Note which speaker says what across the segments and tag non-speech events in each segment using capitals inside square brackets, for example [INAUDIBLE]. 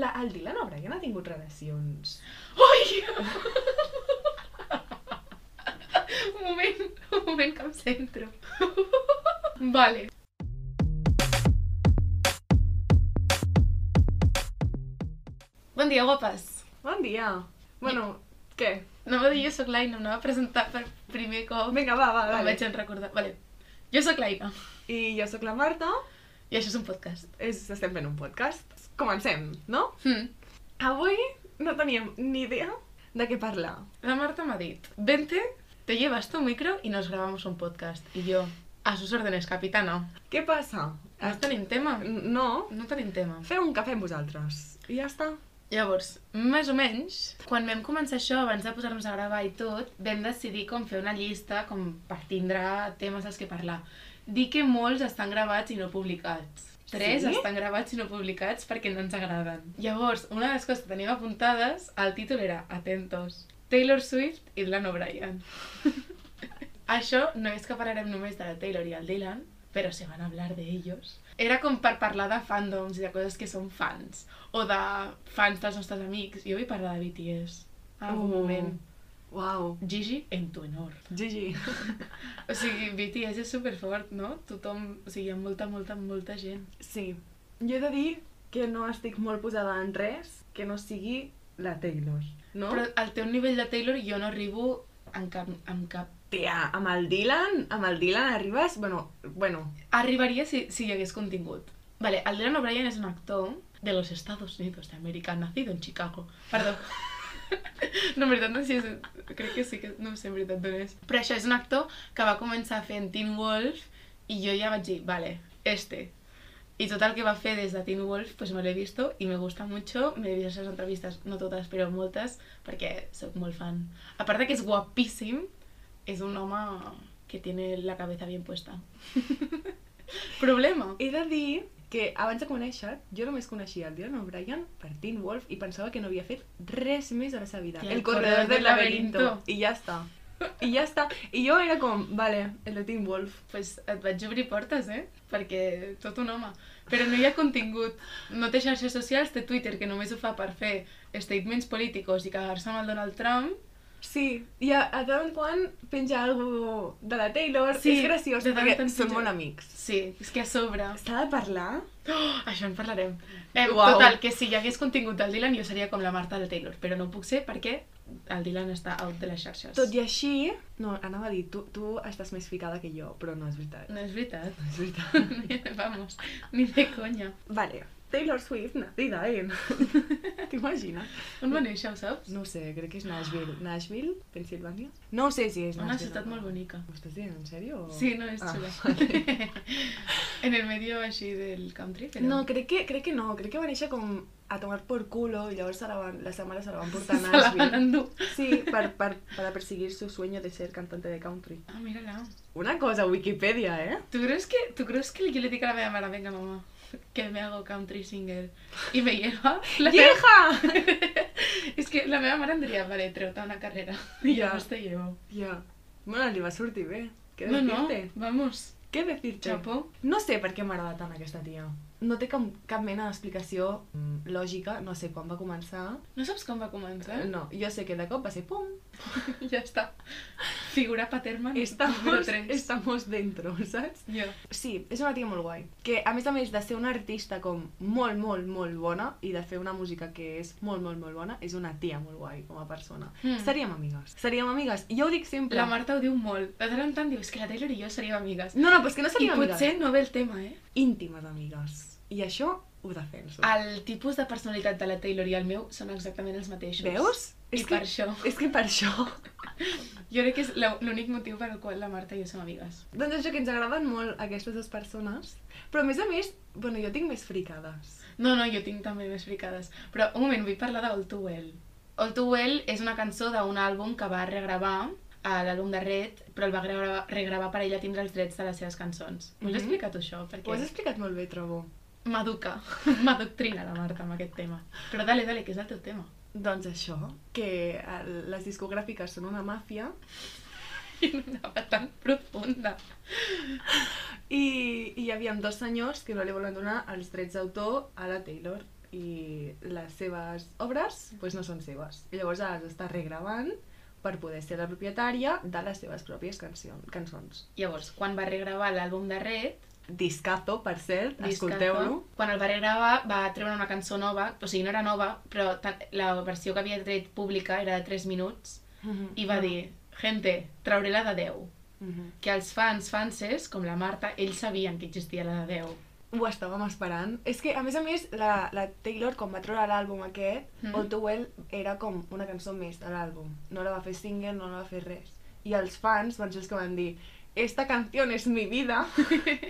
Speaker 1: La, el Dylan O'Brien ha tingut relacions...
Speaker 2: Ui! [LAUGHS] un moment, un moment que em centro. vale. Bon dia, guapes.
Speaker 1: Bon dia!
Speaker 2: Eh.
Speaker 1: Bueno, què?
Speaker 2: No va dir jo sóc l'Aina, no va presentar per primer cop.
Speaker 1: Vinga, va, va,
Speaker 2: Em
Speaker 1: dale.
Speaker 2: vaig en recordar. Vale. Jo sóc l'Aina
Speaker 1: I jo sóc la Marta,
Speaker 2: i això és un podcast.
Speaker 1: és, estem fent un podcast. Comencem, no?
Speaker 2: Hmm.
Speaker 1: Avui no teníem ni idea de què parlar.
Speaker 2: La Marta m'ha dit, vente, te llevas tu micro y nos grabamos un podcast. Y yo, a sus órdenes, capitana.
Speaker 1: Què passa?
Speaker 2: No tenim tema?
Speaker 1: No,
Speaker 2: No tenim tema.
Speaker 1: feu un cafè amb vosaltres. I ja està.
Speaker 2: Llavors, més o menys, quan vam començar això, abans de posar-nos a gravar i tot, vam decidir com fer una llista, com per tindre temes dels que parlar. Dir que molts estan gravats i no publicats. Tres
Speaker 1: Sí?
Speaker 2: estan gravats i no publicats perquè no ens agraden. Llavors, una de les coses que teníem apuntades, el títol era Atentos. Taylor Swift i Dylan O'Brien. Això no és que parlarem només de la Taylor i el Dylan, però se van a hablar de ellos. Era com per parlar de fandoms i de coses que són fans, o de fans dels nostres amics. Jo vull parlar de BTS. En algun
Speaker 1: Uh.
Speaker 2: Ah, moment.
Speaker 1: Uau.
Speaker 2: Gigi, en tu honor.
Speaker 1: Gigi.
Speaker 2: O sigui, BTS és superfort, no? Tothom, o sigui, hi ha molta, molta, molta gent.
Speaker 1: Sí. Jo he de dir que no estic molt posada en res que no sigui la Taylor, no?
Speaker 2: Però al teu nivell de Taylor jo no arribo en cap, en cap.
Speaker 1: Tia, amb el Dylan, amb el Dylan arribes, bueno, bueno,
Speaker 2: Arribaria si, si hi hagués contingut. Vale, el Dylan O'Brien és un actor de los Estados Unidos de América, nacido en Chicago. Perdó. No, en veritat, no sé si és... Crec que sí que... No sé, en veritat, d'on és. Però això és un actor que va començar fent Teen Wolf i jo ja vaig dir, vale, este. Y total que va fe desde Teen Wolf, pues me lo he visto y me gusta mucho. Me he visto esas entrevistas, no todas, pero moltes, perquè soc molt fan. A part de que és guapíssim, és un home que tiene la cabeza bien puesta. [LAUGHS] Problema.
Speaker 1: He de dir que abans de conèixer jo només coneixia el Dylan O'Brien per Teen Wolf i pensava que no havia fet res més a la seva vida.
Speaker 2: Que El corredor del laberinto.
Speaker 1: I ja està. I ja està. I jo era com, vale, el de Teen Wolf.
Speaker 2: Pues et vaig obrir portes, eh? Perquè tot un home. Però no hi ha contingut. No té xarxes socials, té Twitter, que només ho fa per fer statements políticos i cagar-se amb el Donald Trump.
Speaker 1: Sí, i a, a tant en quant penja algo de la Taylor.
Speaker 2: Sí,
Speaker 1: és graciós
Speaker 2: de tant en
Speaker 1: perquè
Speaker 2: tant
Speaker 1: són
Speaker 2: penja.
Speaker 1: molt amics.
Speaker 2: Sí, és que a sobre...
Speaker 1: S'ha de parlar?
Speaker 2: Oh, això en parlarem. Eh,
Speaker 1: Uau.
Speaker 2: Total, que si hi hagués contingut del Dylan jo seria com la Marta del Taylor, però no ho puc ser perquè el Dylan està out de les xarxes.
Speaker 1: Tot i així... No, anava a dir, tu, tu estàs més ficada que jo, però no és veritat.
Speaker 2: No és veritat.
Speaker 1: [LAUGHS] No
Speaker 2: [LAUGHS]
Speaker 1: és veritat.
Speaker 2: Vamos, ni de conya.
Speaker 1: Vale, Taylor Swift, nacida en... [LAUGHS] T'imagines?
Speaker 2: On va néixer, ho saps?
Speaker 1: No ho sé, crec que és Nashville. Nashville, Pensilvània? No ho sé si és Nashville.
Speaker 2: Una ciutat molt bonica.
Speaker 1: Ho estàs dient, en sèrio? o-
Speaker 2: Sí, no, és
Speaker 1: Ah,
Speaker 2: xula.
Speaker 1: vale.
Speaker 2: en el medio així del country, [LAUGHS] però...
Speaker 1: No, crec que, crec que no, crec que va néixer com a tomar por culo i llavors se la van, la seva mare se la van portar a
Speaker 2: [LAUGHS] se la van
Speaker 1: Nashville.
Speaker 2: endur.
Speaker 1: Sí, per, per, para perseguir su sueño de ser cantante de country.
Speaker 2: Ah, mira-la.
Speaker 1: Una cosa, Wikipedia, eh?
Speaker 2: ¿Tú crees que, tú crees que yo le diga a la meva mare, venga mamá, que me hago country singer y me
Speaker 1: [LAUGHS]
Speaker 2: lleva? [LAUGHS] La meva-
Speaker 1: ¡Vieja!
Speaker 2: És que la meva mare em diria, vale, treu-te una
Speaker 1: [LAUGHS]
Speaker 2: carrera.
Speaker 1: Ja.
Speaker 2: I ja. llavors te llevo.
Speaker 1: Ja. Bueno, li va sortir bé. Què
Speaker 2: No, no,
Speaker 1: decirte?
Speaker 2: vamos,
Speaker 1: Què decirte?
Speaker 2: chapo.
Speaker 1: No sé per què m'agrada tant aquesta tia. No té cap, cap mena d'explicació mm, lògica, no sé quan va començar.
Speaker 2: No saps com va començar?
Speaker 1: No, jo sé que de cop va ser pum,
Speaker 2: [LAUGHS] Ja està. Figura Paterman,
Speaker 1: [LAUGHS]
Speaker 2: número
Speaker 1: estamos,
Speaker 2: 3.
Speaker 1: estamos dentro, [LAUGHS] saps?
Speaker 2: Jo.
Speaker 1: Sí, és una tia molt guai, que a més a més de ser una artista com molt, molt, molt bona i de fer una música que és molt, molt, molt bona, és una tia molt guai com a persona.
Speaker 2: Mm.
Speaker 1: Seríem amigues, seríem amigues, i jo ho dic sempre.
Speaker 2: Hmm. La Marta ho diu molt. De tant en tant diu, és que la Taylor i jo seríem amigues.
Speaker 1: No, no, però és que no
Speaker 2: I
Speaker 1: seríem amigues,
Speaker 2: potser no ve el tema, eh?
Speaker 1: íntimes amigues. I això ho defenso.
Speaker 2: El tipus de personalitat de la Taylor i el meu són exactament els mateixos.
Speaker 1: Veus?
Speaker 2: I
Speaker 1: És
Speaker 2: per
Speaker 1: que,
Speaker 2: això.
Speaker 1: és que per això
Speaker 2: Jo crec que és la- l'únic motiu pel qual la Marta i jo som amigues.
Speaker 1: Doncs això, que ens agraden molt aquestes dues persones, però a més a més, bueno, jo tinc més fricades.
Speaker 2: No, no, jo tinc també més fricades. Però un moment, vull parlar d'All Too Well. All Too Well és una cançó d'un àlbum que va regravar a l'àlbum de Red, però el va regravar, regravar per ella tindre els drets de les seves cançons. M'ho has
Speaker 1: Mhm.
Speaker 2: explicat tu, això?
Speaker 1: Ho has
Speaker 2: Perquè
Speaker 1: explicat molt bé, trobo.
Speaker 2: m'educa, [LAUGHS] m'adoctrina la Marta amb aquest tema. Però dale, dale, que és el teu tema. [LAUGHS]
Speaker 1: Doncs això, que eh, les discogràfiques són una màfia
Speaker 2: I no anava tan profunda.
Speaker 1: i, i hi havia dos senyors que no li volen donar els drets d'autor a la Taylor. i les seves obres pues, no són seves. I llavors ja les està regravant per poder ser la propietària de les seves pròpies cancion, cançons.
Speaker 2: Llavors, quan va regravar l'àlbum de Red,
Speaker 1: Discazo, per cert, [LAUGHS]
Speaker 2: Discazo,
Speaker 1: escolteu-lo.
Speaker 2: Quan el va regravar va treure una cançó nova, o sigui, no era nova, però ta- la versió que havia tret pública era de 3 minuts, i
Speaker 1: Ah.
Speaker 2: va dir, gente, trauré la de 10.
Speaker 1: Mhm.
Speaker 2: Que els fans, fanses, com la Marta, ells sabien que existia la de 10.
Speaker 1: Ho estàvem esperant. És que, a més a més, la, la Taylor, quan va treure l'àlbum aquest,
Speaker 2: Mhm.
Speaker 1: mm. All Too Well era com una cançó més de l'àlbum. No la va fer single, no la va fer res. I els fans van ser els que van dir Esta canción es mi vida, [LAUGHS]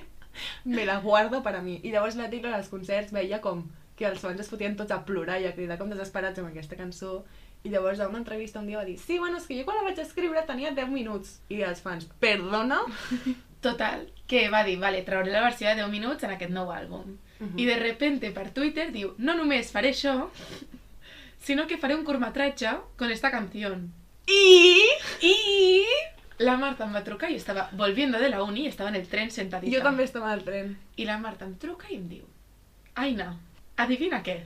Speaker 1: me la guardo per a mi. I llavors la Taylor als concerts veia com que els fans es fotien tots a plorar i a cridar com desesperats amb aquesta cançó. I llavors a una entrevista un dia va dir Sí, bueno, és que jo quan la vaig escriure tenia 10 minuts. I els fans, perdona?
Speaker 2: Total, que va dir, vale, trauré la versió de 10 minuts en aquest nou àlbum. I de repente per Twitter diu, no només faré això, [LAUGHS] sinó que faré un curtmetratge con esta canción.
Speaker 1: I...
Speaker 2: I la Marta em va trucar, jo estava volviendo de la uni, estava en el tren sentadita.
Speaker 1: Jo també estava al tren.
Speaker 2: I la Marta em truca i em diu, Aina, adivina què?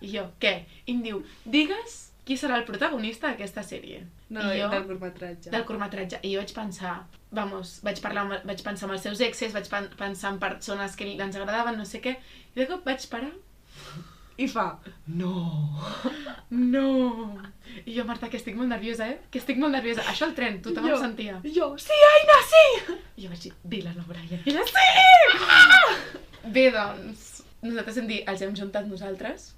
Speaker 2: I jo, què? I em diu, digues qui serà el protagonista d'aquesta sèrie.
Speaker 1: No, jo...
Speaker 2: I jo,
Speaker 1: del curtmetratge.
Speaker 2: del curtmetratge. I jo vaig pensar, vamos, vaig, parlar, amb, vaig pensar en els seus exes, vaig pen- pensar en persones que li- ens agradaven, no sé què. I de cop vaig parar
Speaker 1: I fa, no.
Speaker 2: No! I jo, Marta, que estic molt nerviosa, eh? Que estic molt nerviosa. Això al tren, tothom
Speaker 1: Jo.
Speaker 2: em sentia.
Speaker 1: Jo, sí, Aina, sí!
Speaker 2: I jo vaig dir, dila la Brian. I ella, [LAUGHS] sí! Ah! Bé, doncs, nosaltres hem dit, els hem juntat nosaltres.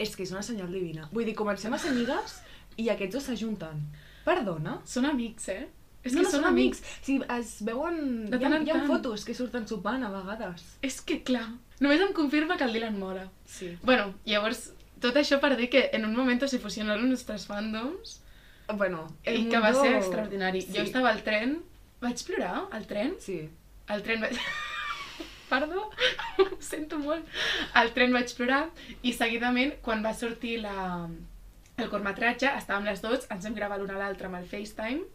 Speaker 1: És que és una senyal divina. Vull dir, comencem a ser amigues i aquests dos s'ajunten. Perdona?
Speaker 2: Són amics, eh? És
Speaker 1: no,
Speaker 2: que
Speaker 1: no
Speaker 2: són amics.
Speaker 1: Si es veuen...
Speaker 2: De
Speaker 1: hi ha-
Speaker 2: tant en
Speaker 1: hi ha,
Speaker 2: tant.
Speaker 1: fotos que surten sopant a vegades.
Speaker 2: És que, clar, només em confirma que el Dylan mola.
Speaker 1: Sí.
Speaker 2: Bueno, llavors, tot això per dir que en un moment se fusionaron nostres fandoms
Speaker 1: Bueno,
Speaker 2: i que va ser extraordinari. Jo estava al tren, vaig plorar al tren,
Speaker 1: Sí.
Speaker 2: El tren vaig... [LAUGHS] Perdó, [LAUGHS] ho sento molt. El tren vaig plorar i seguidament, quan va sortir la... el curtmetratge, estàvem les dues, ens vam gravar l'una a l'altra amb el FaceTime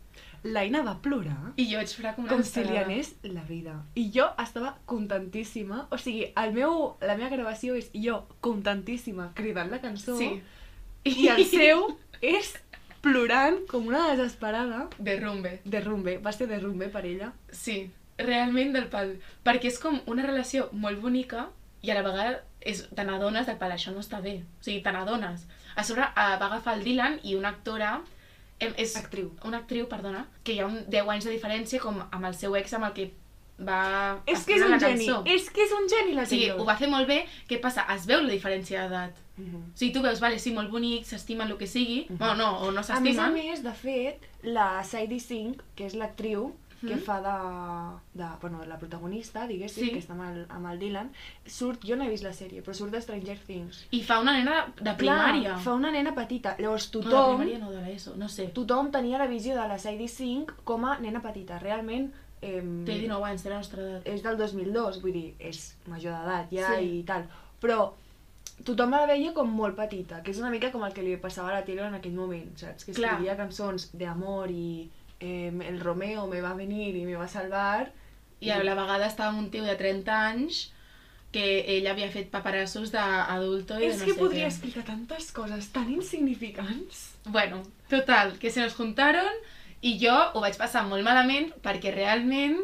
Speaker 1: L'Aina va plorar
Speaker 2: i jo vaig plorar com una
Speaker 1: com si li
Speaker 2: desesperada.
Speaker 1: anés la vida. I jo estava contentíssima. O sigui, el meu, la meva gravació és jo contentíssima cridant la cançó.
Speaker 2: Sí.
Speaker 1: I
Speaker 2: [LAUGHS]
Speaker 1: el seu és plorant com una desesperada.
Speaker 2: Derrumbe.
Speaker 1: Derrumbe, va ser derrumbe per ella.
Speaker 2: Sí, realment del pal. Perquè és com una relació molt bonica i a la vegada és, te n'adones del pal, això no està bé. O sigui, te n'adones. A sobre eh, va agafar el Dylan i una actora... Em, és
Speaker 1: Actriu.
Speaker 2: Una actriu, perdona, que hi ha un 10 anys de diferència com amb el seu ex amb el que va...
Speaker 1: És que és
Speaker 2: escriure
Speaker 1: un
Speaker 2: la
Speaker 1: geni,
Speaker 2: cançó.
Speaker 1: és que és un geni la
Speaker 2: O sigui,
Speaker 1: Taylor.
Speaker 2: ho va fer molt bé. Què passa? Es veu la diferència d'edat.
Speaker 1: Mhm.
Speaker 2: O sigui, tu veus, vale, sí, molt bonic, s'estimen el que sigui,
Speaker 1: Mhm.
Speaker 2: bueno, no, o
Speaker 1: A
Speaker 2: no
Speaker 1: més a
Speaker 2: s'estimen.
Speaker 1: més, de fet, la Sadie Sink, que és l'actriu que
Speaker 2: Mhm.
Speaker 1: fa de, de, bueno, de la protagonista, diguéssim,
Speaker 2: Sí.
Speaker 1: que està amb el, amb el Dylan, surt, jo no he vist la sèrie, però surt de Stranger Things.
Speaker 2: I fa una nena de, de primària.
Speaker 1: Clar, fa una nena petita. Llavors
Speaker 2: No, de
Speaker 1: tothom,
Speaker 2: primària no, de l'ESO, no sé.
Speaker 1: tothom tenia la visió de la Sadie Sink com a nena petita. Realment, ehm,
Speaker 2: Té 19 anys, té la nostra edat.
Speaker 1: és del 2002, vull dir, és major d'edat ja
Speaker 2: Sí.
Speaker 1: i tal. Però tothom la veia com molt petita, que és una mica com el que li passava a la Taylor en aquell moment, saps? Que
Speaker 2: Clar.
Speaker 1: escrivia cançons d'amor i eh, el Romeo me va venir i me va salvar.
Speaker 2: I a la vegada estava amb un tio de 30 anys que ell havia fet paperassos d'adulto i de
Speaker 1: és
Speaker 2: no
Speaker 1: que
Speaker 2: sé
Speaker 1: podria
Speaker 2: què.
Speaker 1: explicar tantes coses tan insignificants.
Speaker 2: Bueno, total, que se nos juntaron i jo ho vaig passar molt malament perquè realment,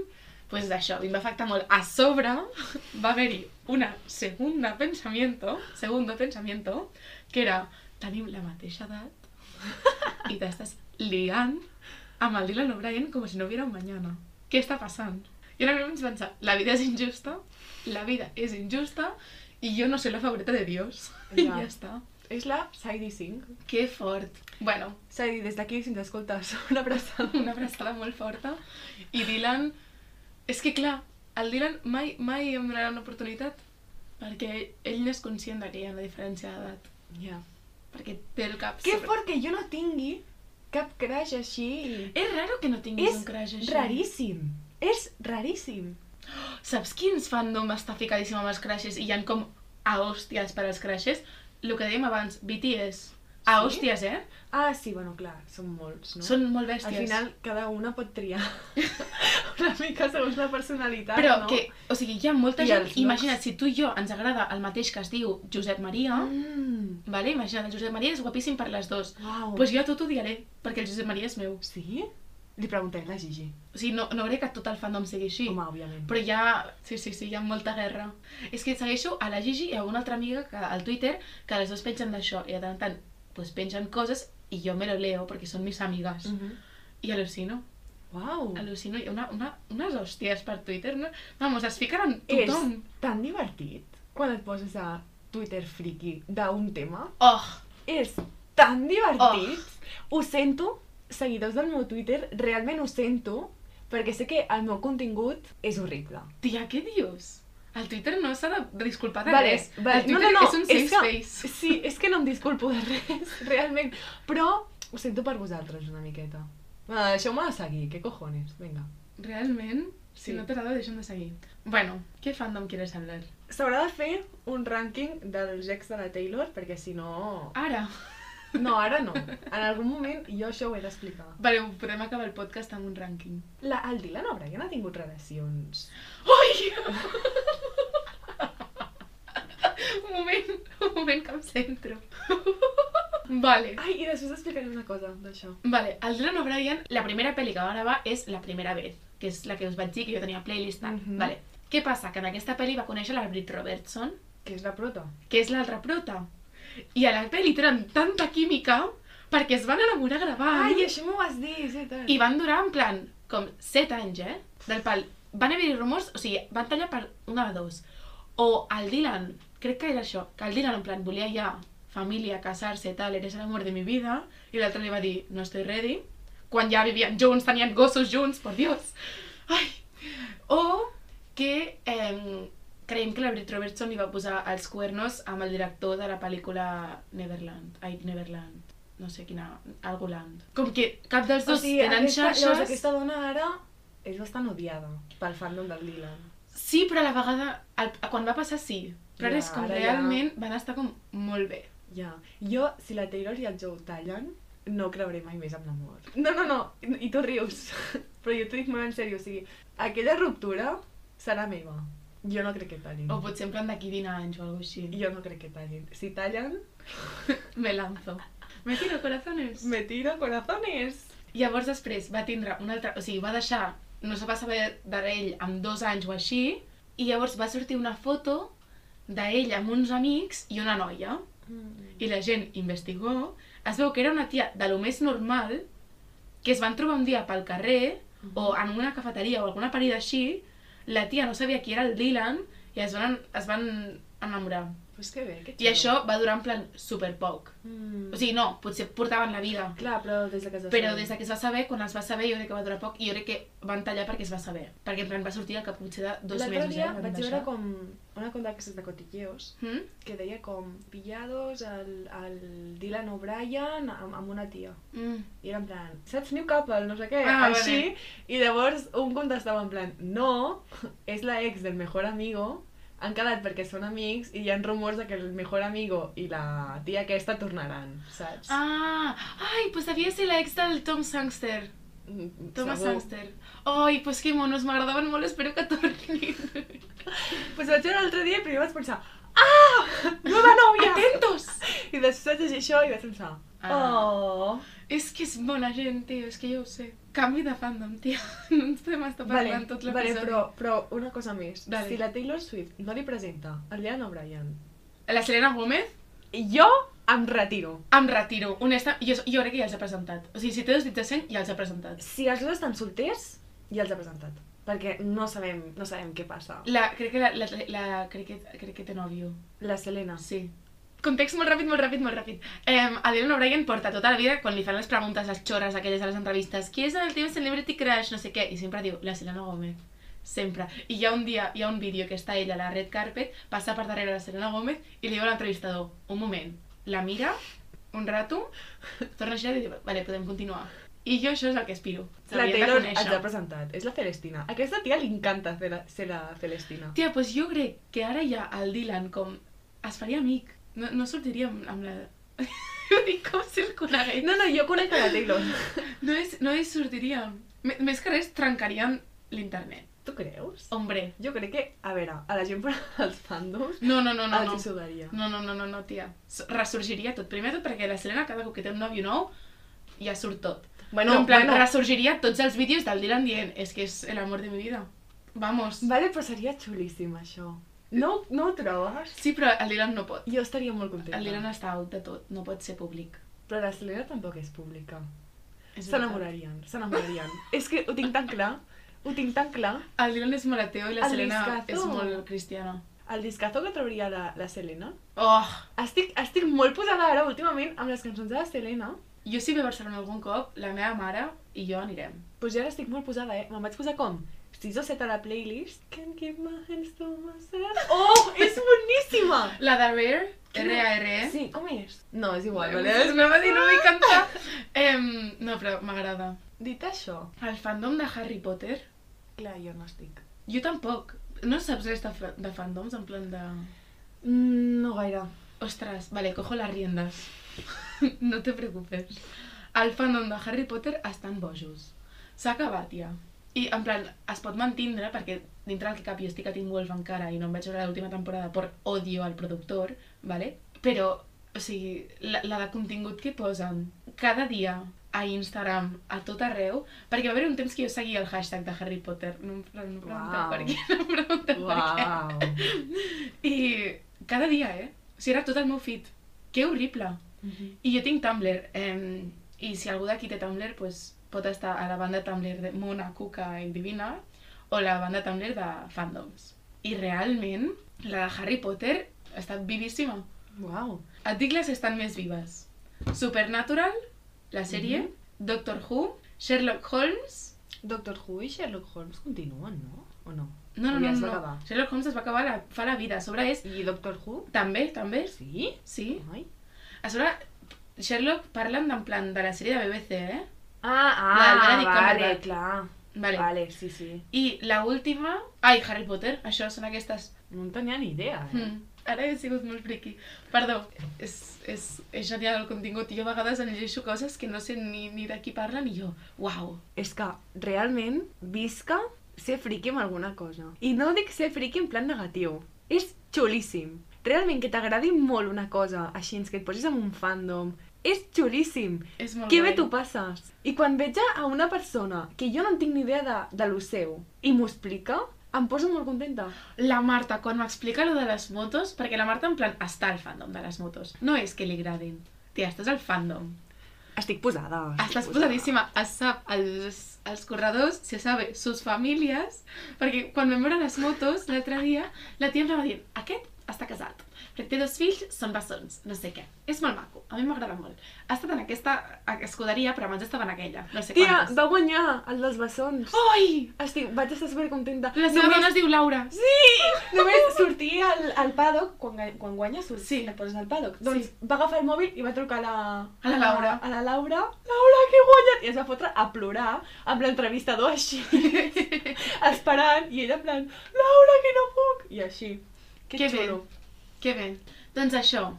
Speaker 2: pues això, em va afectar molt. A sobre va haver-hi una segunda pensamiento, segundo pensamiento, que era, tenim la mateixa edat i t'estàs liant amb el Dylan O'Brien com si no hubiera un mañana. Què està passant? I ara mismo vaig pensar, la vida és injusta, la vida és injusta i jo no soy la favorita de Dios. I
Speaker 1: Ja.
Speaker 2: ja està.
Speaker 1: És la Sadie Sink.
Speaker 2: Que fort. Bueno,
Speaker 1: Sadie, des d'aquí, si ens escoltes, [LAUGHS] una abraçada.
Speaker 2: [LAUGHS] una abraçada molt forta. I Dylan... És que clar, el Dylan mai, mai em donarà una oportunitat perquè ell no és conscient de que hi ha una diferència d'edat.
Speaker 1: Ja.
Speaker 2: Perquè té el cap...
Speaker 1: Que
Speaker 2: sobre-
Speaker 1: fort que jo no tingui cap crash així.
Speaker 2: És raro que no tinguis
Speaker 1: És
Speaker 2: un crash així.
Speaker 1: Raríssim. És raríssim.
Speaker 2: Saps quins fandom està ficadíssim amb els crashes i hi han com a hòsties per als crashes? El que dèiem abans, BTS. a
Speaker 1: Sí?
Speaker 2: hòsties, eh?
Speaker 1: Ah, sí, bueno, clar, són molts, no?
Speaker 2: Són molt
Speaker 1: Al
Speaker 2: bèsties.
Speaker 1: final, cada una pot triar [LAUGHS] una mica segons la personalitat,
Speaker 2: Però
Speaker 1: no?
Speaker 2: que, o sigui, hi ha molta
Speaker 1: I
Speaker 2: gent...
Speaker 1: els
Speaker 2: Imagina't,
Speaker 1: looks.
Speaker 2: si tu i jo ens agrada el mateix que es diu Josep Maria,
Speaker 1: Mm,
Speaker 2: vale? imagina't, el Josep Maria és guapíssim per les dues.
Speaker 1: uau.
Speaker 2: Doncs pues jo a tu t'odiaré, perquè el Josep Maria és meu.
Speaker 1: Sí? Li preguntem a la Gigi.
Speaker 2: O sigui, no, no crec que tot el fandom sigui així.
Speaker 1: Home, òbviament.
Speaker 2: Però hi ha... Sí, sí, sí, hi ha molta guerra. És que segueixo a la Gigi i a una altra amiga que, al Twitter que les dues pengen d'això. I de tant en tant pues, pengen coses i jo me lo leo perquè són mis amigues. Mm.
Speaker 1: Mhm.
Speaker 2: I al·lucino.
Speaker 1: Uau.
Speaker 2: Al·lucino. I una, una, unes hòsties per Twitter. No? Vamos, es fiquen amb
Speaker 1: És
Speaker 2: tothom.
Speaker 1: tan divertit quan et poses a Twitter friki d'un tema.
Speaker 2: Oh,
Speaker 1: És tan divertit. Ho sento, seguidors del meu Twitter, realment ho sento, perquè sé que el meu contingut és horrible.
Speaker 2: tia, què dius? El Twitter no s'ha de disculpar de
Speaker 1: Vale,
Speaker 2: res.
Speaker 1: vale.
Speaker 2: El Twitter
Speaker 1: no, no, no.
Speaker 2: és un safe
Speaker 1: que,
Speaker 2: space.
Speaker 1: Sí, és que no em disculpo de res, [LAUGHS] realment. Però ho sento per vosaltres una miqueta. Va, deixeu-me de seguir, que cojones, vinga.
Speaker 2: Realment, si
Speaker 1: Sí.
Speaker 2: no t'agrada, deixa'm de seguir. Bueno, què fandom quieres hablar?
Speaker 1: S'haurà de fer un rànquing dels ex de la Taylor, perquè si no...
Speaker 2: Ara.
Speaker 1: No, ara no. En algun moment jo això ho he d'explicar.
Speaker 2: Vale, podem acabar el podcast amb un rànquing.
Speaker 1: La, el Dylan O'Brien ha tingut relacions.
Speaker 2: Ui! [LAUGHS] un moment, un moment que em centro. vale.
Speaker 1: Ai, i després explicaré una cosa d'això.
Speaker 2: Vale, el Dylan O'Brien, la primera pel·li que va gravar és La primera vez, que és la que us vaig dir que jo tenia playlist. tal.
Speaker 1: Mhm.
Speaker 2: Vale. Què passa? Que en aquesta pel·li va conèixer la Brit Robertson,
Speaker 1: Que és la prota.
Speaker 2: que és l'altra prota. I a la pel·li tenen tanta química perquè es van enamorar gravant.
Speaker 1: Ai, això m'ho vas dir, sí, tant.
Speaker 2: I van durar, en plan, com 7 anys, eh? Del pal. Van haver-hi rumors, o sigui, van tallar per una de dos. O el Dylan, crec que era això, que el Dylan, en plan, volia ja família, casar-se, tal, eres el amor de mi vida, i l'altre li va dir, no estoy ready, quan ja vivien junts, tenien gossos junts, por Dios. Ai! O que eh, creiem que la Brit Robertson li va posar els cuernos amb el director de la pel·lícula Neverland. Ai, Neverland. No sé quina... Algoland. Com que cap dels dos tenen
Speaker 1: aquesta, llavors,
Speaker 2: xarxes...
Speaker 1: aquesta dona ara és bastant odiada pel fandom del Dylan.
Speaker 2: Sí, però a la vegada... El, quan va passar, sí. Però
Speaker 1: Ja,
Speaker 2: ara és com
Speaker 1: ara ja.
Speaker 2: realment van estar com molt bé.
Speaker 1: Ja. Jo, si la Taylor i el Joe tallen, no creuré mai més en l'amor. No, no, no, i tu rius. [LAUGHS] Però jo t'ho dic molt en sèrio, o sigui, aquella ruptura serà meva. Jo no crec que tallin.
Speaker 2: O potser en plan d'aquí 20 anys o alguna cosa així.
Speaker 1: Jo no crec que tallin. Si tallen,
Speaker 2: Me lanzo. Me tiro corazones.
Speaker 1: me tiro corazones.
Speaker 2: Llavors després va tindre un altre... O sigui, va deixar... No se va saber de ell amb dos anys o així. I llavors va sortir una foto d'ell amb uns amics i una noia. I la gent investigó. Es veu que era una tia de lo més normal que es van trobar un dia pel carrer o en una cafeteria o alguna parida així. La tia no sabia qui era el Dylan i es van, es van enamorar.
Speaker 1: Pues que bé, que
Speaker 2: I això va durar en plan super poc.
Speaker 1: Mm.
Speaker 2: O sigui, no, potser portaven la vida.
Speaker 1: Clar, però des de que es va
Speaker 2: Però
Speaker 1: saber.
Speaker 2: des de que es va saber, quan es va saber, jo crec que va durar poc, i jo crec que van tallar perquè es va saber. Perquè en plan va sortir el cap potser de dos
Speaker 1: L'altre
Speaker 2: mesos,
Speaker 1: dia
Speaker 2: eh? van
Speaker 1: vaig
Speaker 2: deixar.
Speaker 1: veure com una conta que és de cotilleos
Speaker 2: Mm?
Speaker 1: que deia com pillados al, al Dylan O'Brien amb, amb una tia.
Speaker 2: Mm.
Speaker 1: I era en plan, saps New Couple, no sé què,
Speaker 2: Ah,
Speaker 1: així.
Speaker 2: vale.
Speaker 1: I llavors un contestava en plan, no, és la ex del mejor amigo, han quedat perquè són amics i hi ha rumors de que el mejor amigo i la tia aquesta tornaran, saps?
Speaker 2: Ah, ai, pues devia ser la ex del Tom Sangster.
Speaker 1: Mm,
Speaker 2: Thomas
Speaker 1: segur.
Speaker 2: Sangster. Ai, pues que monos, m'agradaven molt, espero que tornin.
Speaker 1: [LAUGHS] Pues vaig veure l'altre dia i primer vaig pensar, ah, nova
Speaker 2: [LAUGHS]
Speaker 1: nòvia!
Speaker 2: Atentos!
Speaker 1: I després vaig llegir això i vaig pensar,
Speaker 2: Ah.
Speaker 1: oh...
Speaker 2: És que és bona gent, tio, és que jo ho sé. Canvi de fandom, tio. [LAUGHS] No ens podem estar parlant
Speaker 1: Vale,
Speaker 2: tot
Speaker 1: vale,
Speaker 2: l'episodi.
Speaker 1: però, però una cosa més.
Speaker 2: Dale.
Speaker 1: Si la Taylor Swift no li presenta el Dylan O'Brien,
Speaker 2: La Selena Gómez
Speaker 1: jo em retiro.
Speaker 2: em retiro. Honesta, jo, jo crec que ja els ha presentat. O sigui, si té dos dits de seny, ja els ha presentat.
Speaker 1: Si els dos estan solters, ja els ha presentat. Perquè no sabem, no sabem què passa.
Speaker 2: La, crec que la, la, la crec, que, crec que té nòvio.
Speaker 1: La Selena.
Speaker 2: Sí. Context molt ràpid, molt ràpid, molt ràpid. Eh, a Dylan O'Brien porta tota la vida, quan li fan les preguntes, les xorres aquelles a les entrevistes, qui és el teu celebrity crush, no sé què, i sempre diu, la Selena Gómez. Sempre. I hi ha un dia, hi ha un vídeo que està ella a la red carpet, passa per darrere la Selena Gómez i li diu a l'entrevistador, un moment, la mira, un rato, torna a girar i diu, vale, podem continuar. I jo això és el que aspiro.
Speaker 1: La
Speaker 2: S'havien de
Speaker 1: Taylor
Speaker 2: conèixer.
Speaker 1: els ha presentat. És la Celestina. A aquesta tia li encanta fer la, ser la Celestina.
Speaker 2: Tia, pues jo crec que ara ja el Dylan com es faria amic. No, no sortiria amb, amb la... [LAUGHS] I com circunaria?
Speaker 1: No, no, jo conec a la Taylor.
Speaker 2: [LAUGHS] No, és, no hi sortiríem. M- Més que res, trencaríem l'internet.
Speaker 1: Tu creus?
Speaker 2: Hombre.
Speaker 1: Jo crec que, a veure, a la gent als fandoms
Speaker 2: No, no, no, no.
Speaker 1: els
Speaker 2: no.
Speaker 1: hi sudaria.
Speaker 2: No, no, no, no, no, tia. S- Ressorgiria tot. Primer de tot perquè la Selena cada cop que té un nòvio nou ja surt tot.
Speaker 1: Bueno,
Speaker 2: No, en plan,
Speaker 1: bueno.
Speaker 2: ressorgiria tots els vídeos del Dylan dient és que és el amor de mi vida. Vamos.
Speaker 1: Vale, però seria xulíssim, això. No, no ho trobes?
Speaker 2: Sí, però el Dylan no pot.
Speaker 1: Jo estaria molt
Speaker 2: El Dylan
Speaker 1: contenta.
Speaker 2: està out de tot, no pot ser públic.
Speaker 1: Però la Selena tampoc és pública.
Speaker 2: És veritat.
Speaker 1: S'enamorarien, s'enamorarien. és que ho tinc tan clar, ho tinc tan clar.
Speaker 2: El Dylan és molt ateu i la
Speaker 1: El
Speaker 2: Selena
Speaker 1: discazo.
Speaker 2: és molt cristiana.
Speaker 1: El discazo que trauria la, la Selena...
Speaker 2: Oh,
Speaker 1: Estic, estic molt posada ara últimament amb les cançons de la Selena.
Speaker 2: jo si ve a Barcelona algun cop, la meva mare i jo anirem.
Speaker 1: Pues jo ara estic doncs molt posada, eh? Me'n vaig posar com? 6 o 7 a la playlist. Can't keep my hands to myself. Oh, és boníssima!
Speaker 2: La de Rare, R-A-R-E.
Speaker 1: Sí, com és? Eh? No, és igual,
Speaker 2: Vale,
Speaker 1: vale?
Speaker 2: no va dir, no vull cantar. Em, no, però m'agrada.
Speaker 1: Dit això,
Speaker 2: El fandom de Harry Potter,
Speaker 1: clar, jo no estic.
Speaker 2: jo tampoc. No saps res de, fa- de fandoms, en plan de...
Speaker 1: Mm, no gaire.
Speaker 2: Ostras, vale, cojo las riendas. [LAUGHS] no te preocupes. El fandom de Harry Potter estan bojos. S'ha acabat, ja. I, en plan, es pot mantindre, perquè dintre del cap jo estic a Teen Wolf encara i no em vaig veure l'última temporada per odio al productor, ¿vale? però, o sigui, la, la de contingut que posen cada dia a Instagram, a tot arreu, perquè va haver un temps que jo seguia el hashtag de Harry Potter, no em pre- no em pregunteu
Speaker 1: Uau.
Speaker 2: per què, no em pregunteu per què. I cada dia, eh? O sigui, era tot el meu feed. Que horrible.
Speaker 1: Mhm.
Speaker 2: I jo tinc Tumblr. Eh, I si algú d'aquí té Tumblr, pues, pot estar a la banda Tumblr de Mona, Cuca i Divina o la banda Tumblr de fandoms. I realment, la de Harry Potter està vivíssima.
Speaker 1: Wow.
Speaker 2: Et dic les que estan més vives. Supernatural, la sèrie,
Speaker 1: Mhm.
Speaker 2: Doctor Who, Sherlock Holmes...
Speaker 1: Doctor Who i Sherlock Holmes continuen, no? O no?
Speaker 2: No, no,
Speaker 1: Ja
Speaker 2: no,
Speaker 1: es va
Speaker 2: no.
Speaker 1: acabar.
Speaker 2: Sherlock Holmes es va acabar la, fa la vida. A sobre és...
Speaker 1: I Doctor Who?
Speaker 2: També, també,
Speaker 1: Sí?
Speaker 2: sí.
Speaker 1: Ai.
Speaker 2: A sobre, Sherlock parlen d'en plan de la sèrie de BBC, eh?
Speaker 1: Ah,
Speaker 2: La del
Speaker 1: ah,
Speaker 2: Benedict
Speaker 1: vale,
Speaker 2: Cumberbatch.
Speaker 1: clar.
Speaker 2: Vale. vale.
Speaker 1: Vale, sí, sí.
Speaker 2: I la última... Ai, Harry Potter, això són aquestes...
Speaker 1: No en tenia ni idea, eh?
Speaker 2: Mm. Ara he sigut molt friqui. Perdó, és, és, és genial el contingut. Jo a vegades en llegeixo coses que no sé ni, ni de qui parlen i jo, uau.
Speaker 1: És que realment visca ser friqui amb alguna cosa. I no dic ser friqui en plan negatiu. És xulíssim. Realment que t'agradi molt una cosa, així, que et posis en un fandom, és xulíssim.
Speaker 2: És molt
Speaker 1: Que
Speaker 2: guai.
Speaker 1: bé t'ho passes. I quan veig a una persona que jo no en tinc ni idea de, de lo seu i m'ho explica, em poso molt contenta.
Speaker 2: La Marta, quan m'explica lo de les motos, perquè la Marta en plan està al fandom de les motos. No és que li agradin. Tia, estàs al fandom.
Speaker 1: Estic posada. estic
Speaker 2: Estàs posadíssima. Es sap, els, els corredors, se sabe, sus famílies, perquè quan vam veure les motos l'altre dia, la tia em va dir, aquest està casat, perquè té dos fills, són bessons, no sé què. És molt maco, a mi m'agrada molt. Ha estat en aquesta escuderia, però abans estava en aquella, no sé
Speaker 1: Tia,
Speaker 2: quantes.
Speaker 1: va guanyar el dels bessons. Oh!
Speaker 2: Oi!
Speaker 1: Estic, vaig estar supercontenta.
Speaker 2: La seva dona es diu Laura.
Speaker 1: Sí! [LAUGHS] Només sortia al, al paddock, quan, ga- quan guanyes surt,
Speaker 2: Sí.
Speaker 1: et poses al paddock. Doncs va agafar el mòbil i va trucar a la...
Speaker 2: A la Laura.
Speaker 1: A la Laura. Laura, que he guanyat! I es va fotre a plorar amb l'entrevistador [LAUGHS] així, esperant, i ella en plan, Laura, que no puc! I així. Que,
Speaker 2: Que bé.
Speaker 1: xulo.
Speaker 2: Que bé. Doncs això,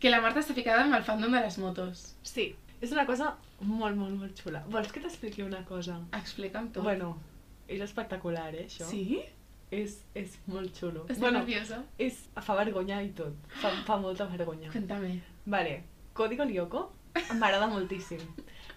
Speaker 2: que la Marta està ficada amb el fandom de les motos.
Speaker 1: Sí, és una cosa molt, molt, molt xula. Vols que t'expliqui una cosa?
Speaker 2: Explica'm tot.
Speaker 1: Bueno, és espectacular, eh, això.
Speaker 2: Sí?
Speaker 1: És, és molt xulo.
Speaker 2: Estic
Speaker 1: bueno,
Speaker 2: nerviosa.
Speaker 1: és, fa vergonya i tot. Fa, fa molta vergonya.
Speaker 2: Cuéntame.
Speaker 1: Vale, Código Lyoko m'agrada moltíssim.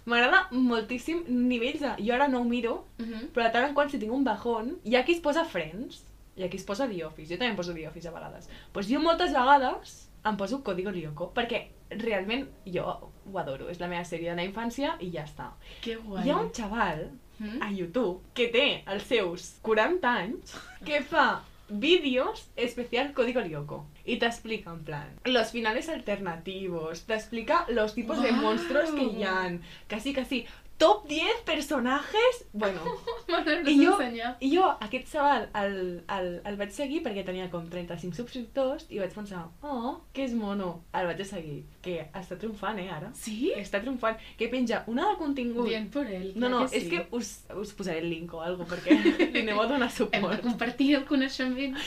Speaker 1: M'agrada moltíssim nivells de... Jo ara no ho miro,
Speaker 2: Uh
Speaker 1: però de tant en quant si tinc un bajón, hi ha qui es posa Friends, hi ha qui es posa The Office, jo també em poso The Office a vegades. Doncs pues jo moltes vegades em poso Código Lyoko, perquè realment jo ho adoro, és la meva sèrie de la infància i ja està.
Speaker 2: Que guai.
Speaker 1: Hi ha un xaval
Speaker 2: Mhm.
Speaker 1: a YouTube que té els seus 40 anys que fa vídeos especial Código Lyoko y te explica en plan los finales alternativos, te explica los tipos de
Speaker 2: Guau.
Speaker 1: monstruos que ya han, casi casi top 10 personajes, bueno,
Speaker 2: M'agrada
Speaker 1: I jo-
Speaker 2: ensenyar.
Speaker 1: i jo aquest xaval el, el, el vaig seguir perquè tenia com 35 subscriptors i vaig pensar, oh, que és mono, el vaig a seguir, que està triomfant, eh, ara?
Speaker 2: Sí?
Speaker 1: Està triomfant, que penja una de contingut
Speaker 2: Bien por él.
Speaker 1: No,
Speaker 2: clar
Speaker 1: no,
Speaker 2: que
Speaker 1: és
Speaker 2: sí.
Speaker 1: que [LAUGHS] us, us posaré el link o algo perquè li aneu a donar
Speaker 2: Hem de
Speaker 1: suport.
Speaker 2: compartir el coneixement.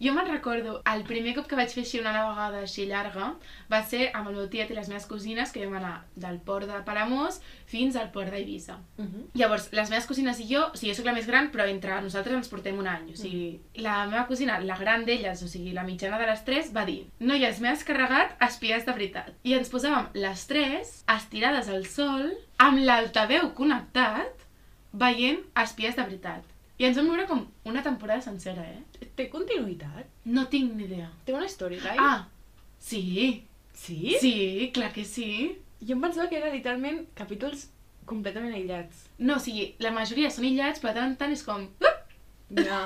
Speaker 2: Jo me'n recordo, el primer cop que vaig fer així una navegada així llarga va ser amb el meu tiet i les meves cosines que vam anar del port de Palamós fins al port d'Eivissa. Llavors, les meves cosines i jo, o sigui, jo soc la més gran, però entre nosaltres ens portem un any. O sigui, la meva cosina, la gran d'elles, o sigui, la mitjana de les tres, va dir Noies, m'he descarregat espies de veritat. I ens posàvem les tres, estirades al sol, amb l'altaveu connectat, veient espies de veritat. I ens vam veure com una temporada sencera, eh?
Speaker 1: Té continuïtat?
Speaker 2: No tinc ni idea.
Speaker 1: Té una storyline?
Speaker 2: Ah, sí.
Speaker 1: Sí?
Speaker 2: Sí, clar que sí.
Speaker 1: Jo em pensava que era literalment capítols completament aïllats.
Speaker 2: No, o sigui, la majoria són illats, però de tant en tant és com...
Speaker 1: [LAUGHS] No.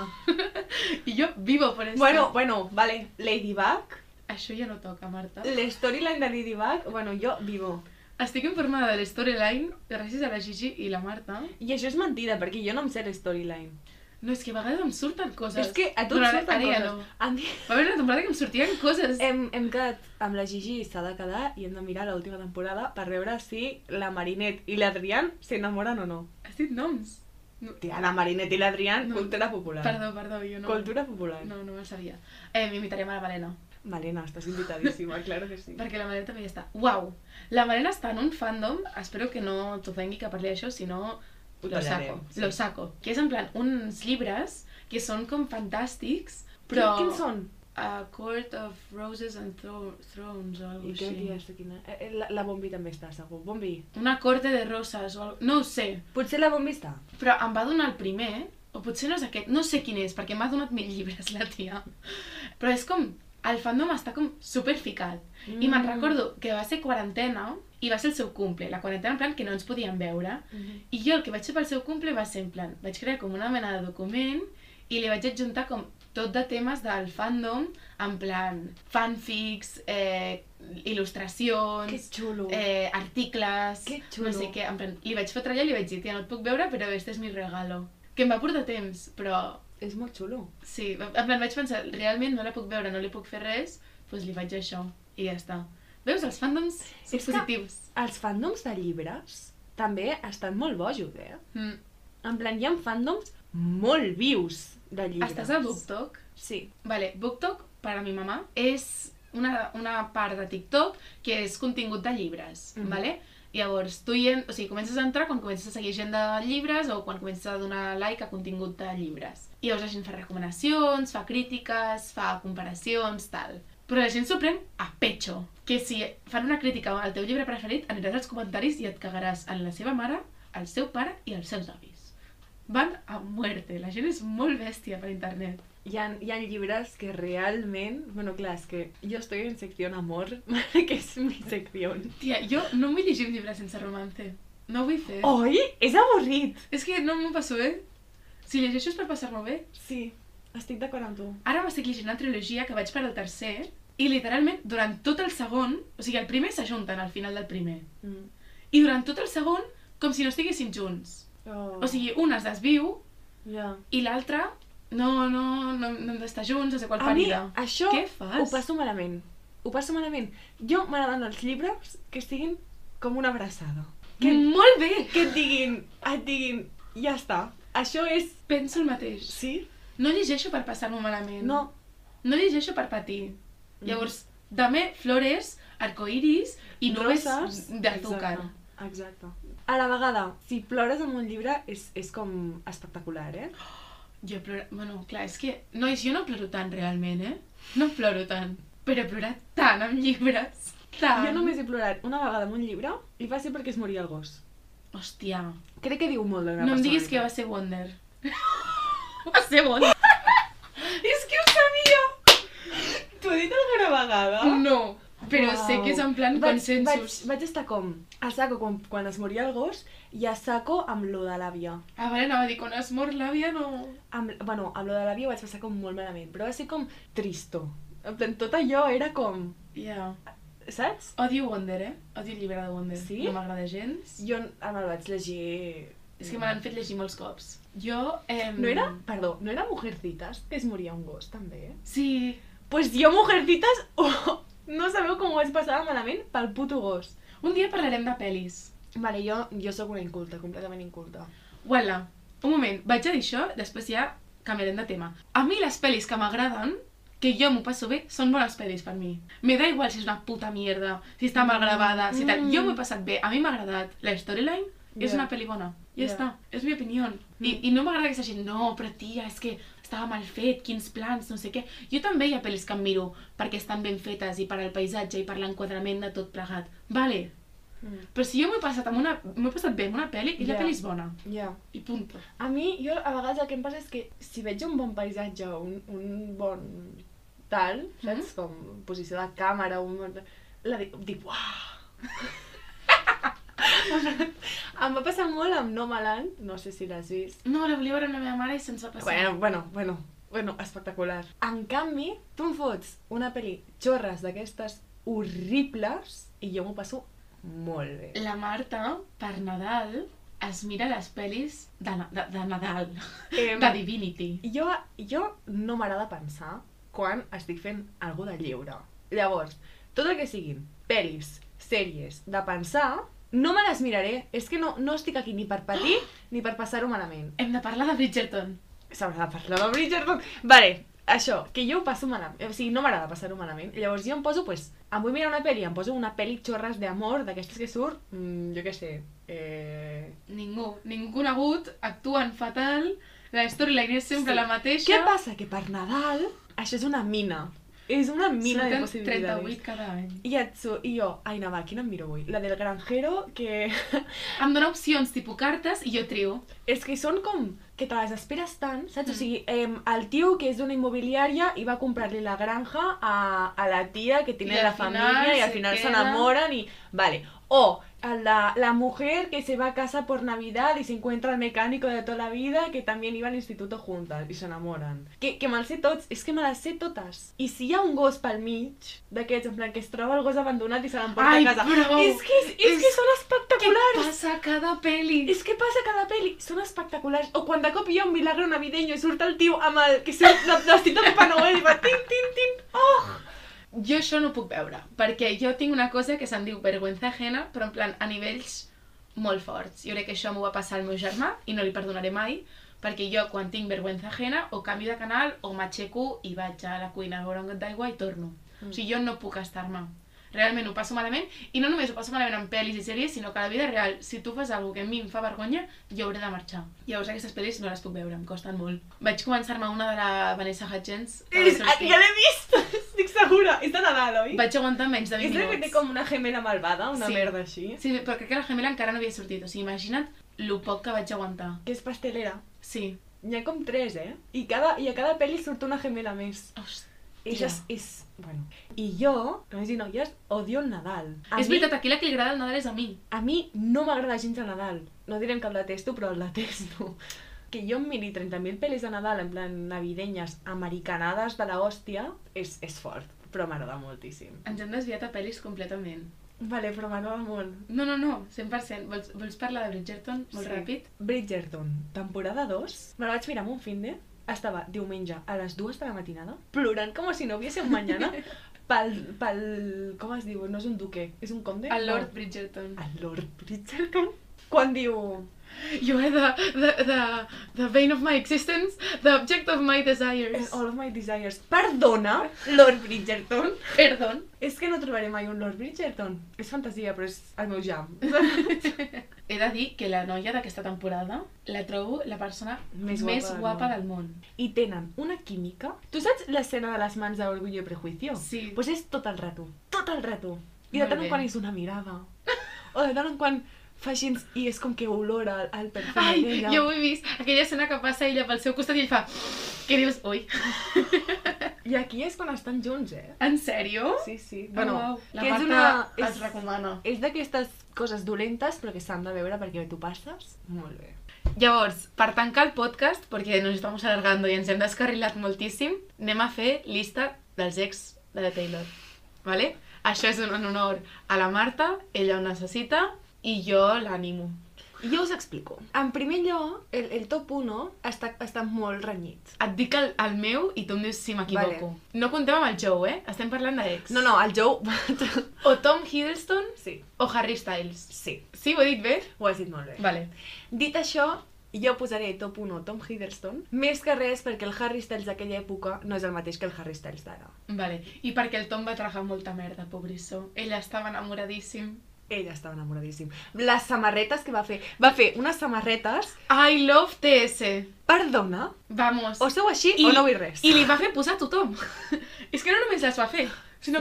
Speaker 2: I jo vivo per això.
Speaker 1: bueno, bueno, vale. Ladybug.
Speaker 2: Això ja no toca,
Speaker 1: Ah.
Speaker 2: Marta.
Speaker 1: L'storyline de Ladybug, bueno, jo vivo.
Speaker 2: Estic informada de l'storyline gràcies a la Gigi i la Marta.
Speaker 1: I això és mentida, perquè jo no em sé l'storyline.
Speaker 2: No, és que a vegades em surten coses.
Speaker 1: És que a tu et
Speaker 2: Però ara-
Speaker 1: surten
Speaker 2: ara ja
Speaker 1: coses. Eh.
Speaker 2: no.
Speaker 1: A mi...
Speaker 2: Va haver una temporada que em sortien coses.
Speaker 1: Hem, hem quedat amb la Gigi i s'ha de quedar i hem de mirar l'última temporada per veure si la Marinet i l'Adrián s'enamoren o no.
Speaker 2: Has dit noms. No.
Speaker 1: Tia, la Marinet i l'Adrián,
Speaker 2: No.
Speaker 1: cultura popular.
Speaker 2: Perdó, perdó, jo no...
Speaker 1: Cultura popular.
Speaker 2: No, no me'n sabia. Eh, M'imitarem a la Malena,
Speaker 1: Malena, estàs invitadíssima, claro que sí.
Speaker 2: perquè la Malena també hi està. Uau! La Malena està en un fandom, espero que no t'ofengui que parli d'això, si no
Speaker 1: Ho
Speaker 2: lo
Speaker 1: tallarem,
Speaker 2: saco.
Speaker 1: sí.
Speaker 2: Lo saco. Que és en plan uns llibres que són com fantàstics, però...
Speaker 1: Qui- Quins són?
Speaker 2: A Court of Roses and Thro Thrones o
Speaker 1: I
Speaker 2: alguna cosa
Speaker 1: crec que
Speaker 2: així.
Speaker 1: ja sé quina... eh, eh, La, la Bombi també està, segur. Bombi.
Speaker 2: Una corte de roses o algo... No ho sé,
Speaker 1: Potser la Bombi està.
Speaker 2: però em va donar el primer, o potser no és aquest, no sé quin és, perquè m'ha donat mil llibres la tia. Però és com, el fandom està com superficat. I
Speaker 1: Mm.
Speaker 2: me'n recordo que va ser quarantena i va ser el seu cumple, la quarantena en plan que no ens podíem veure.
Speaker 1: Mhm.
Speaker 2: I jo el que vaig fer pel seu cumple va ser en plan, vaig crear com una mena de document i li vaig adjuntar com tot de temes del fandom, en plan fanfics, eh, il·lustracions...
Speaker 1: Que xulo.
Speaker 2: eh, articles,
Speaker 1: Que xulo.
Speaker 2: no sé què, en plan, li vaig fotre allà i li vaig dir, tia, no et puc veure, però este és mi regalo. Que em va portar temps, però
Speaker 1: És molt xulo.
Speaker 2: sí, en plan vaig pensar, realment no la puc veure, no li puc fer res, doncs li vaig això, i ja està. Veus, els fandoms són
Speaker 1: És que-
Speaker 2: positius.
Speaker 1: Els fandoms de llibres també estan molt bojos, eh?
Speaker 2: Mm.
Speaker 1: En plan, hi ha fandoms molt vius de llibres.
Speaker 2: Estàs a BookTok?
Speaker 1: Sí.
Speaker 2: Vale, BookTok, per a mi mamà, és una, una part de TikTok que és contingut de llibres,
Speaker 1: Mhm.
Speaker 2: vale? Llavors, tu hi en... o sigui, comences a entrar quan comences a seguir gent de llibres o quan comences a donar like a contingut de llibres. I llavors la gent fa recomanacions, fa crítiques, fa comparacions, tal. Però la gent s'ho pren a pecho. Que si fan una crítica al teu llibre preferit, aniràs als comentaris i et cagaràs en la seva mare, el seu pare i els seus avis. Van a muerte. La gent és molt bèstia per internet.
Speaker 1: Hi ha, hi ha llibres que realment... Bueno, clar, és que jo estoy en secció amor, [LAUGHS] que és mi secció.
Speaker 2: Tia, jo no vull llegir un llibre sense romance. No ho vull fer.
Speaker 1: Oi? És avorrit!
Speaker 2: És que no m'ho passo bé. Si llegeixo és per passar-m'ho bé.
Speaker 1: Sí, estic d'acord amb tu.
Speaker 2: Ara m'estic llegint una trilogia que vaig per al tercer i literalment durant tot el segon, o sigui, el primer s'ajunten al final del primer.
Speaker 1: Mm.
Speaker 2: I durant tot el segon, com si no estiguessin junts.
Speaker 1: Oh.
Speaker 2: O sigui, un es desviu
Speaker 1: ja.
Speaker 2: i l'altre no, no, no, no hem d'estar junts, no sé qual
Speaker 1: A mi
Speaker 2: parida.
Speaker 1: això
Speaker 2: Què fas?
Speaker 1: ho passo malament. Ho passo malament. Jo m'agraden els llibres que estiguin com una abraçada. Que,
Speaker 2: Molt bé!
Speaker 1: que et diguin, et diguin, ja està. Això és...
Speaker 2: Penso el mateix.
Speaker 1: Sí?
Speaker 2: No llegeixo per passar-m'ho malament.
Speaker 1: No.
Speaker 2: No llegeixo per patir.
Speaker 1: Mm.
Speaker 2: Llavors, dame flores, arcoiris i nubes
Speaker 1: Roses.
Speaker 2: d'azúcar.
Speaker 1: Exacte. Exacte. A la vegada, si plores amb un llibre és, és com espectacular, eh?
Speaker 2: Jo ploro... Bueno, clar, és que... Nois, jo no ploro tant realment, eh? No ploro tant. Però he plorat tant amb llibres. Tant.
Speaker 1: Jo només he plorat una vegada amb un llibre i va ser perquè es moria el gos.
Speaker 2: Hòstia. No
Speaker 1: Crec que diu molt d'una
Speaker 2: em diguis que va ser Wonder.
Speaker 1: [LAUGHS]
Speaker 2: va ser Wonder. [LAUGHS] és que ho sabia!
Speaker 1: T'ho he dit alguna vegada?
Speaker 2: No. Però sé que és en plan
Speaker 1: Ah? vaig,
Speaker 2: consensos.
Speaker 1: Vaig, vaig estar com a saco com quan es moria el gos i a saco amb lo de l'àvia.
Speaker 2: Ah, vale, anava a dir, quan es mor l'àvia no...
Speaker 1: Amb, bueno, amb lo de l'àvia ho vaig passar com molt malament, però va ser com tristo. En plan, tot allò era com...
Speaker 2: Ja.
Speaker 1: Saps?
Speaker 2: Odio Wonder, eh? Odio el llibre de Wonder.
Speaker 1: Sí?
Speaker 2: No m'agrada gens.
Speaker 1: Jo me'l vaig llegir...
Speaker 2: És que me l'han fet llegir molts cops. Jo... Ehm...
Speaker 1: No era, perdó, no era Mujercitas, que es moria un gos, també? eh?
Speaker 2: Sí.
Speaker 1: Pues jo, Mujercitas, [LAUGHS] oh, no sabeu com ho vaig passar de malament pel puto gos.
Speaker 2: Un dia parlarem de pel·lis.
Speaker 1: Vale, jo, jo sóc una inculta, completament inculta.
Speaker 2: Uala, un moment, vaig a dir això, després ja canviarem de tema. A mi les pel·lis que m'agraden que jo m'ho passo bé, són bones pel·lis per mi. Me da igual si és una puta mierda, si està mal gravada, si tal. Jo m'ho he passat bé, a mi m'ha agradat. La storyline és
Speaker 1: Ja.
Speaker 2: una pel·li bona. Ja
Speaker 1: Ja.
Speaker 2: està, és mi opinió. I, i no m'agrada que s'hagi, no, però tia, és que estava mal fet, quins plans, no sé què. Jo també hi ha pel·lis que em miro perquè estan ben fetes i per al paisatge i per l'enquadrament de tot plegat. Vale,
Speaker 1: Mm.
Speaker 2: però si jo m'ho he passat, amb una, m'ho he passat bé amb una pel·li i la
Speaker 1: Ja.
Speaker 2: pel·li és bona.
Speaker 1: Ja.
Speaker 2: I punto.
Speaker 1: A mi, jo a vegades el que em passa és que si veig un bon paisatge o un, un bon tal, saps? Com posició de càmera, un... bon- La dic, dic uah! [LAUGHS] em va passar molt amb Nomaland, no sé si l'has vist.
Speaker 2: No, la volia veure amb la meva mare i se'ns va passar.
Speaker 1: Bueno, bueno, bueno, bueno, espectacular. En canvi, tu em fots una pel·li xorres d'aquestes horribles i jo m'ho passo molt bé.
Speaker 2: La Marta, per Nadal, es mira les pel·lis de, na- de, de Nadal,
Speaker 1: Em,
Speaker 2: de Divinity.
Speaker 1: Eh, jo, jo no m'agrada pensar quan estic fent algú de lliure. Llavors, tot el que siguin pel·lis, sèries, de pensar, no me les miraré. És que no, no estic aquí ni per patir ni per passar-ho malament.
Speaker 2: Hem de parlar de Bridgerton.
Speaker 1: S'haurà de parlar de Bridgerton. Vale, això, que jo ho passo malament. eh, O sigui, no m'agrada passar-ho malament. Llavors jo em poso, pues, em vull mirar una pel·li, em poso una pel·li xorres d'amor, d'aquestes que surt, mm, jo què sé, eh...
Speaker 2: Ningú, ningú conegut, actuen fatal, la storyline és sempre
Speaker 1: Sí.
Speaker 2: la mateixa.
Speaker 1: Què passa? Que per Nadal això és una mina. És una mina de
Speaker 2: Surten
Speaker 1: possibilitats.
Speaker 2: 38 cada any.
Speaker 1: I, et su I jo, ai, no, va, quina em miro avui? La del granjero, que...
Speaker 2: Em dóna opcions tipus cartes i jo trio.
Speaker 1: és que són com que te les esperes tant, saps? O sigui, em, el tio que és d'una immobiliària i va a comprar-li la granja a, a la tia que
Speaker 2: I
Speaker 1: tiene
Speaker 2: al
Speaker 1: la
Speaker 2: final
Speaker 1: família i al
Speaker 2: se
Speaker 1: final
Speaker 2: queda-
Speaker 1: s'enamoren i... Vale. O el de la mujer que se va a casa por Navidad y se encuentra al mecánico de toda la vida que también iba al instituto juntas y se enamoran. Que, que me les sé tots, és que me les sé totes. I si hi ha un gos pel mig d'aquests, en plan que es troba el gos abandonat i se l'emporta
Speaker 2: Ai,
Speaker 1: a casa...
Speaker 2: prou!
Speaker 1: És que, és, és que
Speaker 2: És-
Speaker 1: són espectaculars!
Speaker 2: Què passa a cada pel·li?
Speaker 1: És que passa cada peli, són espectaculars. O quan de cop hi ha un milagro navideño i surt el tio amb el que surt de- vestit de Papa Noel i va tin, tin, tin.
Speaker 2: Jo això no ho puc veure, perquè jo tinc una cosa que se'n diu vergüenza ajena, però en plan a nivells molt forts. Jo crec que això m'ho va passar al meu germà i no li perdonaré mai, perquè jo quan tinc vergüenza ajena o canvio de canal o m'aixeco i vaig a la cuina a veure un got d'aigua i torno. O sigui, jo no puc estar-me. Realment ho passo malament, i no només ho passo malament en pel·lis i sèries, sinó que a la vida real, si tu fas alguna que a mi em fa vergonya, jo hauré de marxar. Llavors aquestes pel·lis no les puc veure, em costen molt. Vaig començar-me una de la Vanessa Hudgens. la de
Speaker 1: És, ah,
Speaker 2: Thursday.
Speaker 1: ja l'he vist, [LAUGHS] estic segura. És de Nadal, oi?
Speaker 2: Vaig aguantar menys de 20
Speaker 1: és la que
Speaker 2: minuts.
Speaker 1: té com una gemela malvada, una
Speaker 2: Sí.
Speaker 1: merda així.
Speaker 2: Sí, però crec que la gemela encara no havia sortit. O sigui, imagina't lo poc que vaig aguantar.
Speaker 1: Que és pastelera.
Speaker 2: Sí.
Speaker 1: N'hi ha com tres, eh? I, cada, i a cada peli surt una gemela més.
Speaker 2: Hosti.
Speaker 1: Ella és, és... Bueno. I jo, nois i noies, odio el Nadal. A
Speaker 2: És
Speaker 1: mi-
Speaker 2: veritat, aquí la que li agrada el Nadal és a mi.
Speaker 1: A mi no m'agrada gens el Nadal. No direm que el detesto, però el detesto. [LAUGHS] Que jo em miri 30.000 pel·lis de Nadal, en plan navidenyes, americanades de la hòstia, és, és fort, però m'agrada moltíssim.
Speaker 2: Ens hem desviat a pel·lis completament.
Speaker 1: Vale, però m'agrada molt.
Speaker 2: No, no, no, 100%. Vols, vols parlar de Bridgerton molt
Speaker 1: Sí.
Speaker 2: ràpid?
Speaker 1: Bridgerton, temporada 2, me la vaig mirar amb un fin de... Estava diumenge a les dues de la matinada, plorant com si no hubiese un mañana,
Speaker 2: [LAUGHS]
Speaker 1: pel, pel... com es diu? No és un duque, és un conde?
Speaker 2: El
Speaker 1: No.
Speaker 2: Lord Bridgerton. [LAUGHS]
Speaker 1: El Lord Bridgerton? Quan diu...
Speaker 2: You are the, the, the, the vein of my existence, the object of my
Speaker 1: "And
Speaker 2: desires.
Speaker 1: All of my desires. Perdona, Lord Bridgerton.
Speaker 2: Perdón.
Speaker 1: És que no trobaré mai un Lord Bridgerton. És fantasia, però és el meu jam.
Speaker 2: He de dir que la noia d'aquesta temporada la trobo la persona
Speaker 1: Més guapa
Speaker 2: més
Speaker 1: del
Speaker 2: guapa
Speaker 1: món.
Speaker 2: del món.
Speaker 1: I tenen una química... Tu saps l'escena de les mans d'Orgullo i Prejuicio?
Speaker 2: Sí.
Speaker 1: Pues és tot el rato, tot el rato. I de
Speaker 2: Molt
Speaker 1: tant
Speaker 2: bé.
Speaker 1: en quan és una mirada. O de tant en quan fa així i és com que olora el, el perfum
Speaker 2: Ai,
Speaker 1: d'ella.
Speaker 2: jo ho he vist. Aquella escena que passa ella pel seu costat i ell fa... Què dius? Ui,
Speaker 1: I aquí és quan estan junts, eh?
Speaker 2: en sèrio?
Speaker 1: Sí, sí.
Speaker 2: Bueno,
Speaker 1: Bueno,
Speaker 2: wow. la
Speaker 1: que
Speaker 2: Marta
Speaker 1: és una...
Speaker 2: es
Speaker 1: És,
Speaker 2: recomana.
Speaker 1: és d'aquestes coses dolentes però que s'han de veure perquè tu passes molt bé.
Speaker 2: Llavors, per tancar el podcast, perquè nos estamos alargando i ens hem descarrilat moltíssim, anem a fer llista dels ex de la Taylor. Vale? Això és un honor a la Marta, ella ho necessita i jo l'animo.
Speaker 1: Jo us explico. En primer lloc, el, el top 1 està, està molt renyit.
Speaker 2: Et dic el, el meu i tu em dius si m'equivoco. Vale. No comptem amb el Joe, eh? Estem parlant d'ex.
Speaker 1: No, no, el Joe... [LAUGHS]
Speaker 2: O Tom Hiddleston
Speaker 1: sí,
Speaker 2: o Harry Styles.
Speaker 1: sí,
Speaker 2: Sí, ho he dit bé?
Speaker 1: ho has dit molt bé.
Speaker 2: Vale.
Speaker 1: Dit això, Jo posaré top 1 Tom Hiddleston, més que res perquè el Harry Styles d'aquella època no és el mateix que el Harry Styles d'ara.
Speaker 2: Vale, i perquè el Tom va tragar molta merda, pobrissó. Ella estava enamoradíssim.
Speaker 1: Ell estava enamoradíssim. Les samarretes que va fer... Va fer unes samarretes...
Speaker 2: I love TS.
Speaker 1: Perdona?
Speaker 2: Vamos.
Speaker 1: O sou així I... o no vull res.
Speaker 2: I li va fer posar a tothom. [LAUGHS] És que no només les va fer, sinó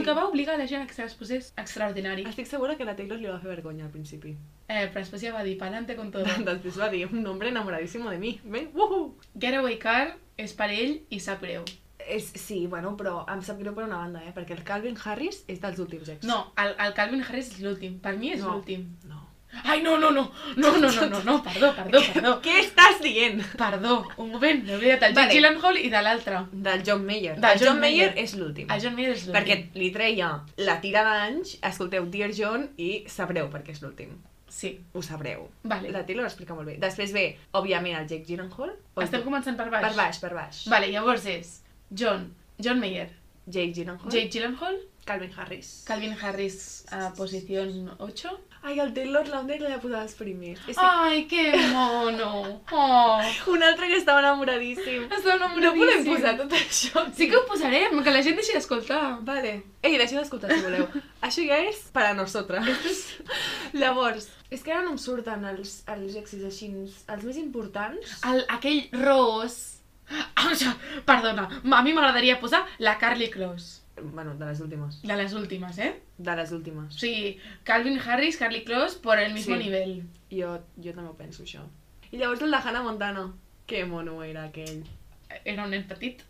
Speaker 1: Sí. Ah.
Speaker 2: que va obligar a la gent a que se les posés. Extraordinari.
Speaker 1: Estic segura que la Taylor li va fer vergonya al principi.
Speaker 2: Eh, però després ja va dir, pa'lante con todo.
Speaker 1: Després va dir, un hombre enamoradísimo de mi. Bé, uhu!
Speaker 2: Getaway Car és per ell i sap greu.
Speaker 1: És, sí, bueno, però em sap greu per una banda, eh? Perquè el Calvin Harris és dels últims ex.
Speaker 2: No, el, el Calvin Harris és l'últim. Per mi és
Speaker 1: No.
Speaker 2: l'últim.
Speaker 1: No.
Speaker 2: Ai, no, no, no. No, no, no, no, no. Perdó, perdó, perdó.
Speaker 1: Què estàs dient?
Speaker 2: Perdó, un moment, m'he oblidat del
Speaker 1: Vale.
Speaker 2: Jake Gyllenhaal i de l'altre.
Speaker 1: Del John Mayer.
Speaker 2: Del
Speaker 1: Del
Speaker 2: John
Speaker 1: John, Mayer,
Speaker 2: Mayer.
Speaker 1: és l'últim.
Speaker 2: El John Mayer és l'últim.
Speaker 1: Perquè li treia la tira d'anys, escolteu Dear John i sabreu per què és l'últim.
Speaker 2: Sí,
Speaker 1: Ho sabreu.
Speaker 2: vale.
Speaker 1: La Taylor ho explica molt bé. Després ve, òbviament, el Jake Gyllenhaal. O
Speaker 2: Estem començant per baix.
Speaker 1: Per baix, per baix.
Speaker 2: Vale, llavors és John, John Mayer,
Speaker 1: Jake Gyllenhaal.
Speaker 2: Jake Gyllenhaal,
Speaker 1: Calvin Harris.
Speaker 2: Calvin Harris a posición 8.
Speaker 1: Ai, el Taylor Lautner l'he posat els primers. És que
Speaker 2: Ai, que mono! Oh,
Speaker 1: un altre que estava enamoradíssim.
Speaker 2: està
Speaker 1: No podem
Speaker 2: enamoradíssim.
Speaker 1: posar tot això.
Speaker 2: Sí que ho posarem, que la gent deixi d'escoltar.
Speaker 1: Vale. Ei, deixeu d'escoltar si voleu. Això ja és per a nosaltres. Llavors, és que ara no em surten els, els èxits així, els més importants.
Speaker 2: El, aquell ros... [GASPS] Ah, ja, perdona, a mi m'agradaria posar la Carly Close.
Speaker 1: Ah, Bueno, de les últimes.
Speaker 2: De les últimes, eh?
Speaker 1: De les
Speaker 2: O
Speaker 1: últimes.
Speaker 2: sigui, Calvin Harris, Carly Close, por el mismo
Speaker 1: Sí.
Speaker 2: nivel.
Speaker 1: Jo, jo també ho penso, això. I llavors el de Hannah Montana. Que mono era aquell.
Speaker 2: Era un nen petit.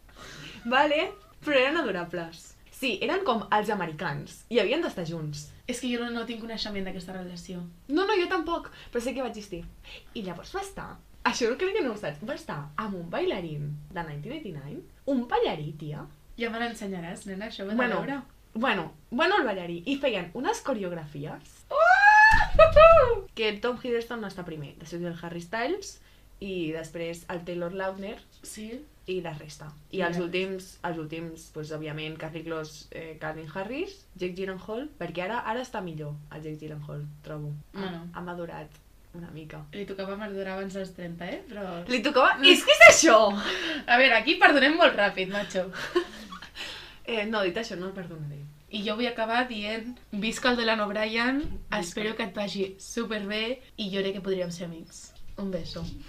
Speaker 1: Vale, però eren adorables. Sí, eren com els americans. I havien d'estar junts.
Speaker 2: És que jo no, no tinc coneixement d'aquesta relació.
Speaker 1: No, no, jo tampoc, però sé que va existir. I llavors va estar, això no crec que no ho saps, va estar amb un bailarín de 1989, un ballarí, tia,
Speaker 2: Ja me l'ensenyaràs, nena, això ho he de
Speaker 1: Bueno.
Speaker 2: veure.
Speaker 1: Bueno, bueno el ballarí. I feien unes coreografies que el Tom Hiddleston està primer, després el Harry Styles i després el Taylor Lautner
Speaker 2: Sí?
Speaker 1: i la resta. I
Speaker 2: I
Speaker 1: els
Speaker 2: la
Speaker 1: últims, els últims, doncs, òbviament, Carly Close, eh, Calvin Harris, Jake Gyllenhaal, perquè ara ara està millor el Jake Gyllenhaal, trobo. Ha,
Speaker 2: Bueno.
Speaker 1: ha madurat una mica.
Speaker 2: Li tocava madurar abans dels 30, eh? Però...
Speaker 1: Li tocava... És que és això!
Speaker 2: A veure, aquí perdonem molt ràpid, macho.
Speaker 1: Eh, no, dit això, no el perdonaré.
Speaker 2: I jo vull acabar dient, visca el Dylan O'Brien,
Speaker 1: Visca.
Speaker 2: espero que et vagi superbé i jo crec que podríem ser amics. Un beso.